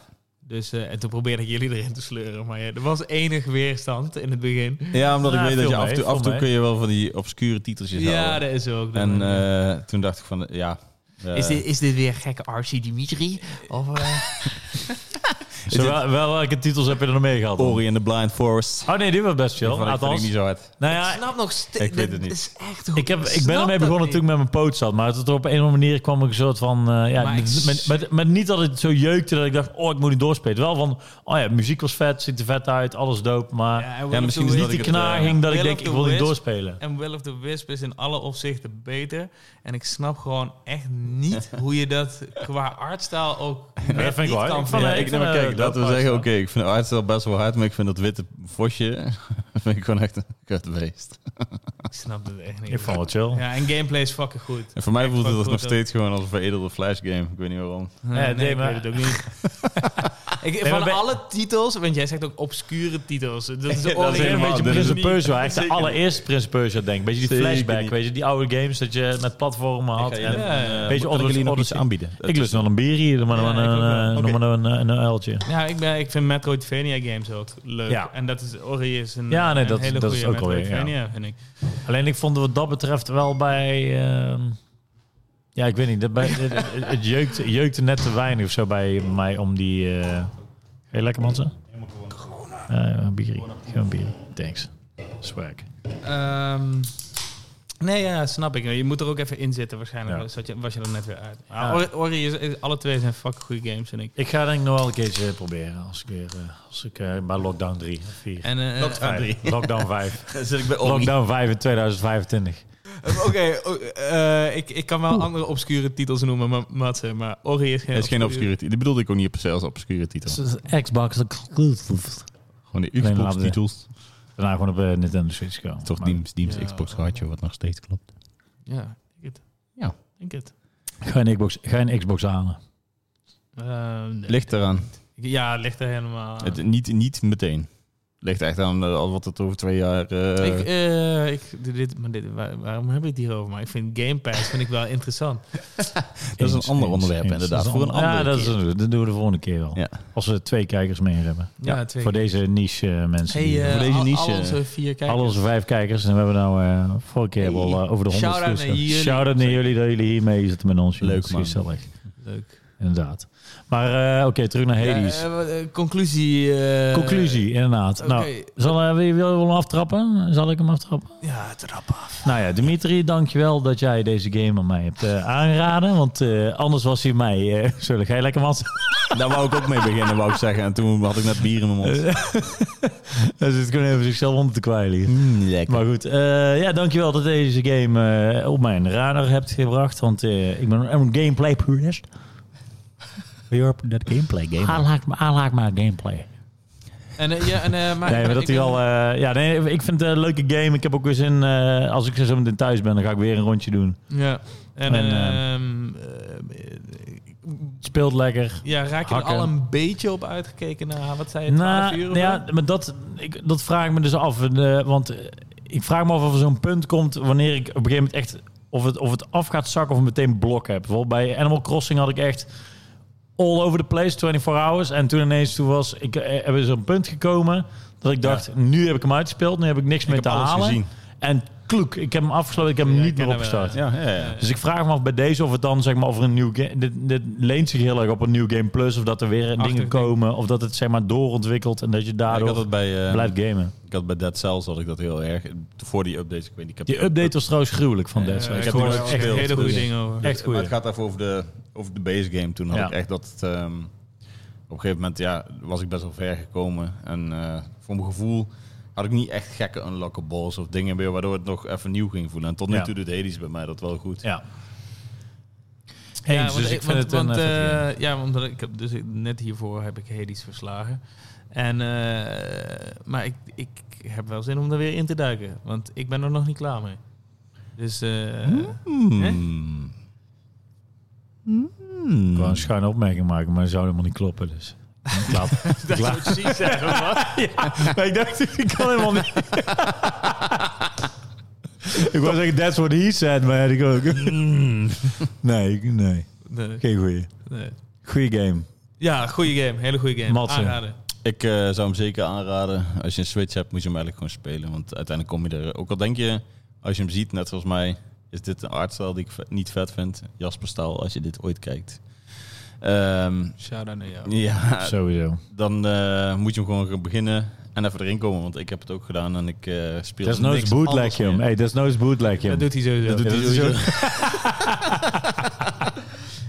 Dus, eh, en toen probeerde ik jullie erin te sleuren. Maar ja, er was enig weerstand in het begin. Ja, omdat Ja, ik weet dat veel je af en mee, toe, af en veel toe mee. kun je wel van die obscure titeltjes Ja, houden. dat is ook. En eh, toen dacht ik van, ja... eh, is, dit, is dit weer gekke Archie Dimitri? Of, eh, Zo, wel, wel, welke titels heb je er nog mee gehad? dan? Ori in the Blind Forest. Oh nee, die was best Die chill. vond ik, vond ik Althans, niet zo hard. nou ik ja, snap nog steeds. Ik weet het dit niet. is echt hoe- Ik, heb, ik ben snap ermee dat begonnen niet. toen ik met mijn poot zat. Maar tot op een of andere manier kwam ik een soort van... eh, ja, Maar ik met, met, met, met niet dat het zo jeukte dat ik dacht... Oh, ik moet niet doorspelen. Wel van... Oh ja, muziek was vet. Ziet er vet uit. Alles dope. Maar Ja, Ja, misschien misschien is niet dat die ik het, eh, knaging dat ik Will denk... of Ik the wil niet Wisp. doorspelen. En Will of the Wisp is in alle opzichten beter. En ik snap gewoon echt niet hoe je dat qua artstyle ook net dat vind ik niet wel. kan vinden. Ik vond- Ja, ik neem maar vind, eh, kijk, laten we dat zeggen, oké, wel. ik vind de artstijl best wel hard, maar ik vind dat witte vosje, vind ik gewoon echt een kut beest. Ik snap het echt niet. Ik vond het chill. Ja, en gameplay is fucking goed. En voor mij voelt vond het het nog goed, steeds gewoon als een veredelde Flash game, ik weet niet waarom. nee, nee, ik maar- weet het ook niet. ik, maar van bij- alle titels, want jij zegt ook obscure titels. Dat is, is ook Een helemaal- beetje dit is Prince niet- Persia. Echt de Zeker niet. allereerste Prince Persia, denk ik. Beetje die Zeker flashback, niet. weet je. Die oude games dat je met platformen had. jullie en- even- Beetje Kan ik jullie nog Odyssey- iets aanbieden? Ik lust wel een bier hier. Maar Ja, dan ik ook wel. een, eh, Oké. nog maar een, een, een uiltje. Ja, ik, ben, ik vind Metroidvania games ook leuk. Ja. En dat is, Ori is een, Ja, nee, een dat- hele dat is goede ook alweer, ja. Metroidvania, vind ik. Alleen ik vond wat dat betreft wel bij... ehm, ja, ik weet niet. dat bij, het, het- het jeukte, jeukte net te weinig of zo bij mij om die... eh, Ga je lekker, Mansen? Helemaal corona. een bierie. Gewoon bier. Thanks. Swag. Ehm, nee, ja, snap ik. Je moet er ook even in zitten waarschijnlijk. Ja. Zat je, was je er net weer uit. Maar Ja. Ori, Ori is, is- alle twee zijn fucking goede games, vind ik. Ik ga denk ik nog wel een keertje proberen. Als ik weer... eh, als ik eh, bij lockdown 3 of 4. En, eh, Dat- eh, Vijf. Lockdown 5. Dan zit ik bij Omni. Lockdown 5 in 2025. eh, Oké, o- eh, ik, ik kan wel andere obscure titels noemen, maar, Matze, maar Ori is geen, Het is geen obscure titel. Die bedoelde ik ook niet per se als obscure titel. Xbox exclusive. Gewoon de Alleen Xbox laten we- titels. Daarna gewoon op eh, Nintendo Switch komen. Toch Maar- Teams, Teams Ja. Xbox gehadje, wat nog steeds klopt. Ja, denk het. Ja. Denk het. Ga je een Xbox, ga je een Xbox halen? Ehm, nee. Ligt eraan. Ja, ligt er helemaal aan. Het, niet, niet meteen. Ligt echt aan eh, wat het over twee jaar... eh, ik, eh, ik, dit- dit, maar dit, waar- waarom heb ik het hierover? Maar ik vind Game Pass vind ik wel interessant. dat is een ander onderwerp inderdaad. Voor een andere Ja, dat, is, keer. dat doen we de volgende keer wel. Ja. Als we twee kijkers meer hebben. Ja, twee Voor deze niche eh, mensen. Hey, die- eh, voor deze al- niche, Al onze vier kijkers. Al onze vijf kijkers. En we hebben nou eh vorige keer Hey. al eh, over de honderd Shout-out naar views gehad. jullie. Shout-out naar jullie dat jullie hier mee zitten met ons. jongens. Leuk, man. Gezellig. Leuk. Inderdaad. Maar eh, oké, terug naar Hades. Ja, eh, wat, eh, conclusie. eh, Conclusie, inderdaad. Oké. Nou, zal, eh, wil je wil je hem aftrappen? Zal ik hem aftrappen? Ja, trap af. Nou ja, Dimitri, dankjewel dat jij deze game aan mij hebt eh, aangeraden. Want eh, anders was hij mij... eh, zullen jij lekker man? Daar wou ik ook mee beginnen, wou ik zeggen. En toen had ik net bier in mijn mond. Hij zit gewoon even zichzelf onder te kwijlen hier. Mm, lekker. Maar goed, eh, ja, dankjewel dat deze game eh, op mijn radar hebt gebracht. Want eh, ik ben een- een gameplay purist. You're that gameplay game. I like, my- I like my gameplay. En, eh, ja, en, eh, maar, Nee, maar dat ik hij ben- al. eh, ja, nee, ik vind het een leuke game. Ik heb ook weer zin. eh, als ik zo meteen thuis ben, dan ga ik weer een rondje doen. Ja. En, En, ehm, eh, Speelt lekker. ja, raak je er hakken. al een beetje op uitgekeken na wat zei je, 12 Nou, uur? nou of ja, wat? maar dat, ik, dat vraag ik me dus af. En, eh, want eh, ik vraag me af of er zo'n punt komt wanneer ik op een gegeven moment echt... Of het, of het af gaat zakken of meteen blok heb. Bijvoorbeeld bij Animal Crossing had ik echt all over the place, 24 hours. En toen ineens toen was ik, eh, er is zo'n punt gekomen dat ik dacht, nu heb ik hem uitgespeeld. Nu heb ik niks meer heb te alles halen. gezien. En kloek, ik heb hem afgesloten. Ik heb hem Ja, niet meer kennen we. opgestart. Ja, ja, ja. Dus ik vraag me af bij deze of het dan zeg maar over een nieuw game. Dit, dit leent zich heel erg op een nieuw game plus. Of dat er weer dingen Achtergrond. komen. Of dat het zeg maar doorontwikkelt en dat je ik daardoor had dat bij, eh, blijft gamen. ik had bij Dead Cells had ik dat heel erg. Voor die updates, ik weet niet. Ik heb Die update was trouwens gruwelijk van Ja, Dead Eh, Cells. ik ik heb heb Gewoon die er nooit echt gespeeld. hele goede dingen over. Echt Maar goed. het gaat even over de, over de base game. Toen had Ja. ik echt dat... ehm, op een gegeven moment ja, was ik best wel ver gekomen. En eh, voor mijn gevoel had ik niet echt gekke unlockables of dingen meer... waardoor het nog even nieuw ging voelen. En tot nu Ja. toe doet Hades bij mij dat wel goed. Ja. Ja, Eens, want dus ik- ik want- vind het een... want, eh, vet game. eh, Ja, omdat ik heb dus ik- net hiervoor heb ik Hades verslagen. En, eh, maar ik, ik heb wel zin om er weer in te duiken. Want ik ben er nog niet klaar mee. Dus eh, Hmm. Ik Hmm. wou een schuine opmerking maken, maar het zou helemaal niet kloppen. Dus. Klap. dat zou ik precies eh, zeggen, man. Maar ik dacht, ik kan helemaal niet. ik wou zeggen, that's what he said, maar ja, ik ook. Hmm. nee, ik- nee. Nee, Geen goeie. nee. Goeie game. Ja, goede game. Hele goede game. Matze. Aanraden. Ik eh, zou hem zeker aanraden. Als je een Switch hebt, moet je hem eigenlijk gewoon spelen. Want uiteindelijk kom je er... Ook al denk je, als je hem ziet, net zoals mij... is dit een artstijl die ik ve- niet vet vind. Jasper Staal, als je dit ooit kijkt. Ehm, Shout-out naar jou. ja, Sowieso. dan eh, moet je hem gewoon gaan beginnen. En even erin komen, want ik heb het ook gedaan. En ik eh speel Desnoods niks bootleg anders je hem. meer. Hey, desnoods bootleg je Dat hem. doet hij sowieso. Dat doet Ja, hij dat is sowieso.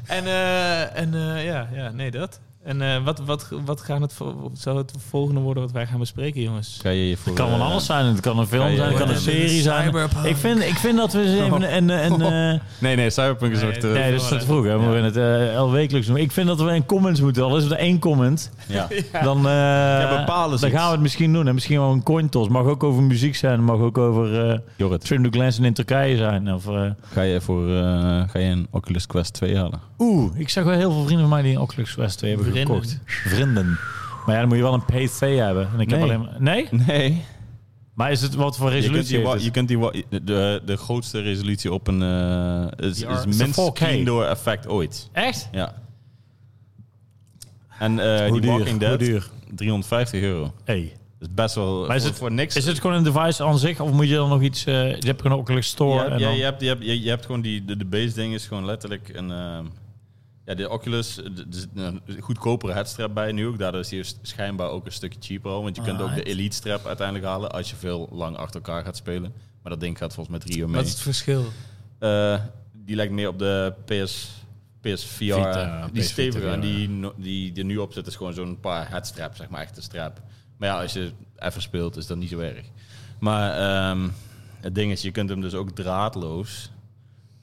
En, eh, en eh, ja, ja, nee, dat. En eh, wat, wat, wat gaan het, vol- zou het volgende worden wat wij gaan bespreken, jongens? Ga je je voor, Het kan van eh, alles zijn. Het kan een film Ja, ja, zijn, het kan ja. een serie zijn. Cyberpunk. Ik vind, ik vind dat we ze even een... een, een eh, Nee, nee, Cyberpunk is Nee, nog te... nee, dat is te vroeg. Hè? We moeten het eh, al wekelijks doen. Ik vind dat we een comments moeten. Al is het één comment, Ja. dan, eh, Ja, bepaal eens dan iets. gaan we het misschien doen. En misschien wel een coin toss. Mag ook over muziek zijn. Mag ook over eh Jorrit, Trim Glanson in Turkije zijn. Of, eh, ga je, voor, eh, ga je een Oculus Quest 2 halen? Oeh, ik zag wel heel veel vrienden van mij die een Oculus Quest 2 hebben Vrienden. gekocht. Vrienden. Maar ja, dan moet je wel een PC hebben. En ik Nee. heb alleen maar... Nee? Nee. Maar is het wat voor Je kunt, resolutie die, wa- heeft je het? kunt die wa- de, de grootste resolutie op een eh is, Ja, is is een minst 4K. clean door effect ooit. Echt? Ja. En eh Hoe die duur? Walking Hoe Dead duur? 350 euro. Hey. Dat is best wel Maar is voor, het- voor niks. Is het gewoon een device aan zich? Of moet je dan nog iets... eh, je hebt gewoon een Oculus Store Ja, en ja, dan- je, hebt, je, hebt, je, je hebt gewoon die, de, de base ding is gewoon letterlijk een. ehm, ja, de Oculus, eh, er zit een goedkopere headstrap bij nu ook. Daardoor is die schijnbaar ook een stukje cheaper al. Want je kunt ook de Elite strap uiteindelijk halen als je veel lang achter elkaar gaat spelen. Maar dat ding gaat volgens mij drie uur mee. Wat is het verschil? Eh, die lijkt meer op de PS, PSVR. Vita, die PS steviger. Vita, En ja. die, no- die er nu op zit is gewoon zo'n paar headstrap, zeg maar. Echte strap. Maar ja, als je even speelt, is dat niet zo erg. Maar ehm, het ding is, je kunt hem dus ook draadloos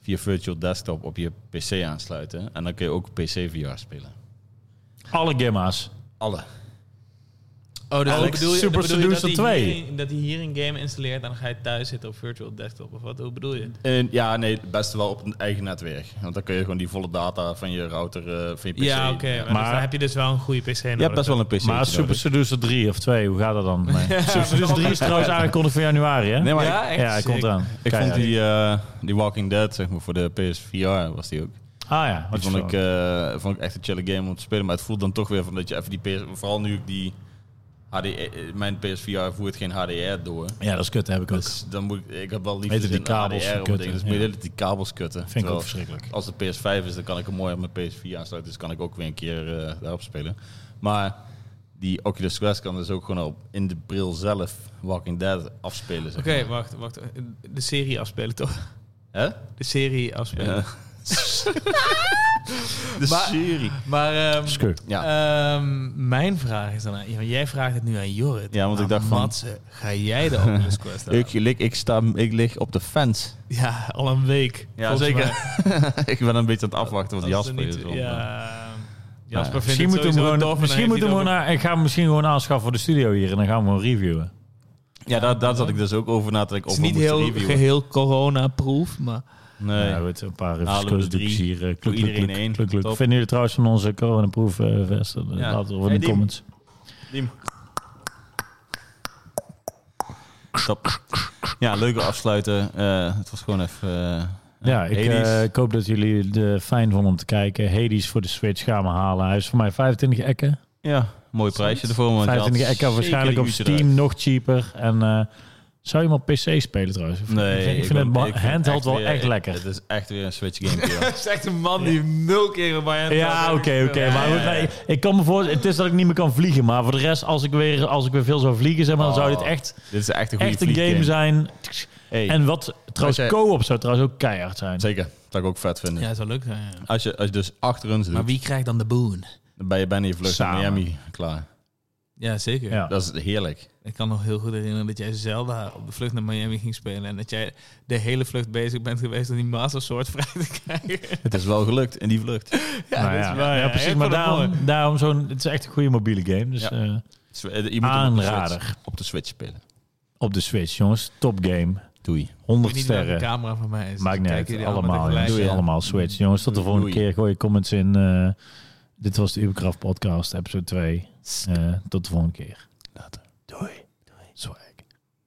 via virtual desktop op je PC aansluiten. En dan kun je ook PC VR spelen. Alle gamma's. Alle. Oh, Alex, bedoel Super je Seducer dat 2. Hij hier, dat hij hier een game installeert en dan ga je thuis zitten op virtual desktop? Of wat hoe bedoel je? En ja, nee, het beste wel op een eigen netwerk. Want dan kun je gewoon die volle data van je router, eh, van je PC. Ja, oké. maar Maar- dus dan heb je dus wel een goede PC nodig. Je hebt best wel dus. een PC. Maar Super Seducer 3 of 2, hoe gaat dat dan? Nee. Super Seducer 3 is trouwens aangekondigd voor januari, hè? Nee, maar ja, ik, echt ja, hij komt sick. eraan. ik Keihard. vond die, eh, die Walking Dead, zeg maar, voor de PSVR was die ook. Ah ja, Dat wat vond ik, eh, vond ik echt een chille game om te spelen. Maar het voelt dan toch weer van dat je even die PS... Vooral nu ik die... HD, eh, mijn PSVR voert geen HDR door. Ja, dat is kut, heb ik ook. Dus dan moet ik... Ik heb wel Weet liever je, die zin in kabels HDR op kutten, dingen. Dus ja. moet je de hele tijd die kabels kutten. Vind ik Terwijl ook verschrikkelijk. Als het PS5 is, dan kan ik hem mooi op mijn PS4 aansluiten. Dus kan ik ook weer een keer eh, daarop spelen. Maar die Oculus Quest kan dus ook gewoon op, in de bril zelf Walking Dead afspelen. zeg Oké, maar. wacht, wacht. De serie afspelen toch? Hè? De serie afspelen. Ja. de Maar- serie. Maar ehm, Skeur. Ja. ehm, mijn vraag is dan aan... ja, want jij vraagt het nu aan Jorrit. Ja, want ik Aan dacht van- Matze, ga jij de Oculus Quest Eh, aan? Ik, lig, ik, sta, ik lig op de fans. Ja, al een week. volgens mij. ik ben een beetje aan het afwachten wat Als het Jasper er is. niet- want, eh, Ja, Nou ja, Jasper vindt Misschien het moeten we hem sowieso gewoon, tof en misschien heeft moeten we hij hem het gewoon aan- ik ga hem misschien gewoon aanschaffen voor de studio hier en dan gaan we gewoon reviewen. ja, daar, daar zat ik dus ook over na te denken. over- Of Het is we niet moeten heel reviewen. geheel corona-proof, maar... Nee. Ja, weet, je, een paar Halen we verschillende drie. hier. eh, Doe Kluk, iedereen kluk, één. kluk, kluk, kluk. Top. Vinden jullie trouwens van onze coronaproof eh vesten? Ja. Laat het over in Hey, de Diem. comments. Diem. Stop. Ja, leuke afsluiten. Eh, het was gewoon even... eh, Ja, ik, eh, Hades. ik hoop dat jullie het fijn vonden om te kijken. Hades voor de Switch gaan we halen. Hij is voor mij 25 ekken. ja, mooi prijsje ervoor. Want je had 25 ekken zeker waarschijnlijk die op uurtje Steam eruit. nog cheaper. En eh, zou je hem op PC spelen trouwens? Of- Nee, ik vind, ik vind ben- het ma- ik vind handheld wel weer- echt lekker. Het is echt weer een Switch game. kerel. Dat is echt een man die nul keer op mij Ja, oké, oké. Maar goed, nee, ik kan me voor, het is dat ik niet meer kan vliegen. Maar voor de rest, als ik weer, als ik weer veel zou vliegen, zeg maar, dan zou dit Oh, echt, Dit is echt een goede echt een game zijn. Hey, En wat trouwens, jij- co-op zou trouwens ook keihard zijn. Zeker, dat zou ik ook vet vinden. Ja, dat zou leuk zijn, ja. Als, je, als je dus achter ons doet, Maar wie krijgt dan de boon? dan ben je bijna je vlucht naar Samen. Miami klaar. Ja, zeker. Ja. Dat is heerlijk. Ik kan nog heel goed herinneren dat jij Zelda op de vlucht naar Miami ging spelen. En dat jij de hele vlucht bezig bent geweest om die Master Sword vrij te krijgen. Het is wel gelukt in die vlucht. Nou dat ja. is waar, Ja, ja. Ik precies. vond Maar het daarom, mooi. daarom zo'n, het is echt een goede mobiele game. Dus Ja. eh, Je moet hem op de, Aanrader. Switch, op de Switch spelen. op de Switch, jongens. Top game. Doei. 100 niet welke sterren. camera van mij is. Maakt niet Kijken uit. jullie Allemaal, tegelijk? jongens. Doei, ja. allemaal Switch. Jongens, tot de volgende Doei. keer. Gooi je comments in. eh, dit was de Ubercraft podcast, episode 2. Eh, tot de volgende keer. Later. Doei. Doei. Swag.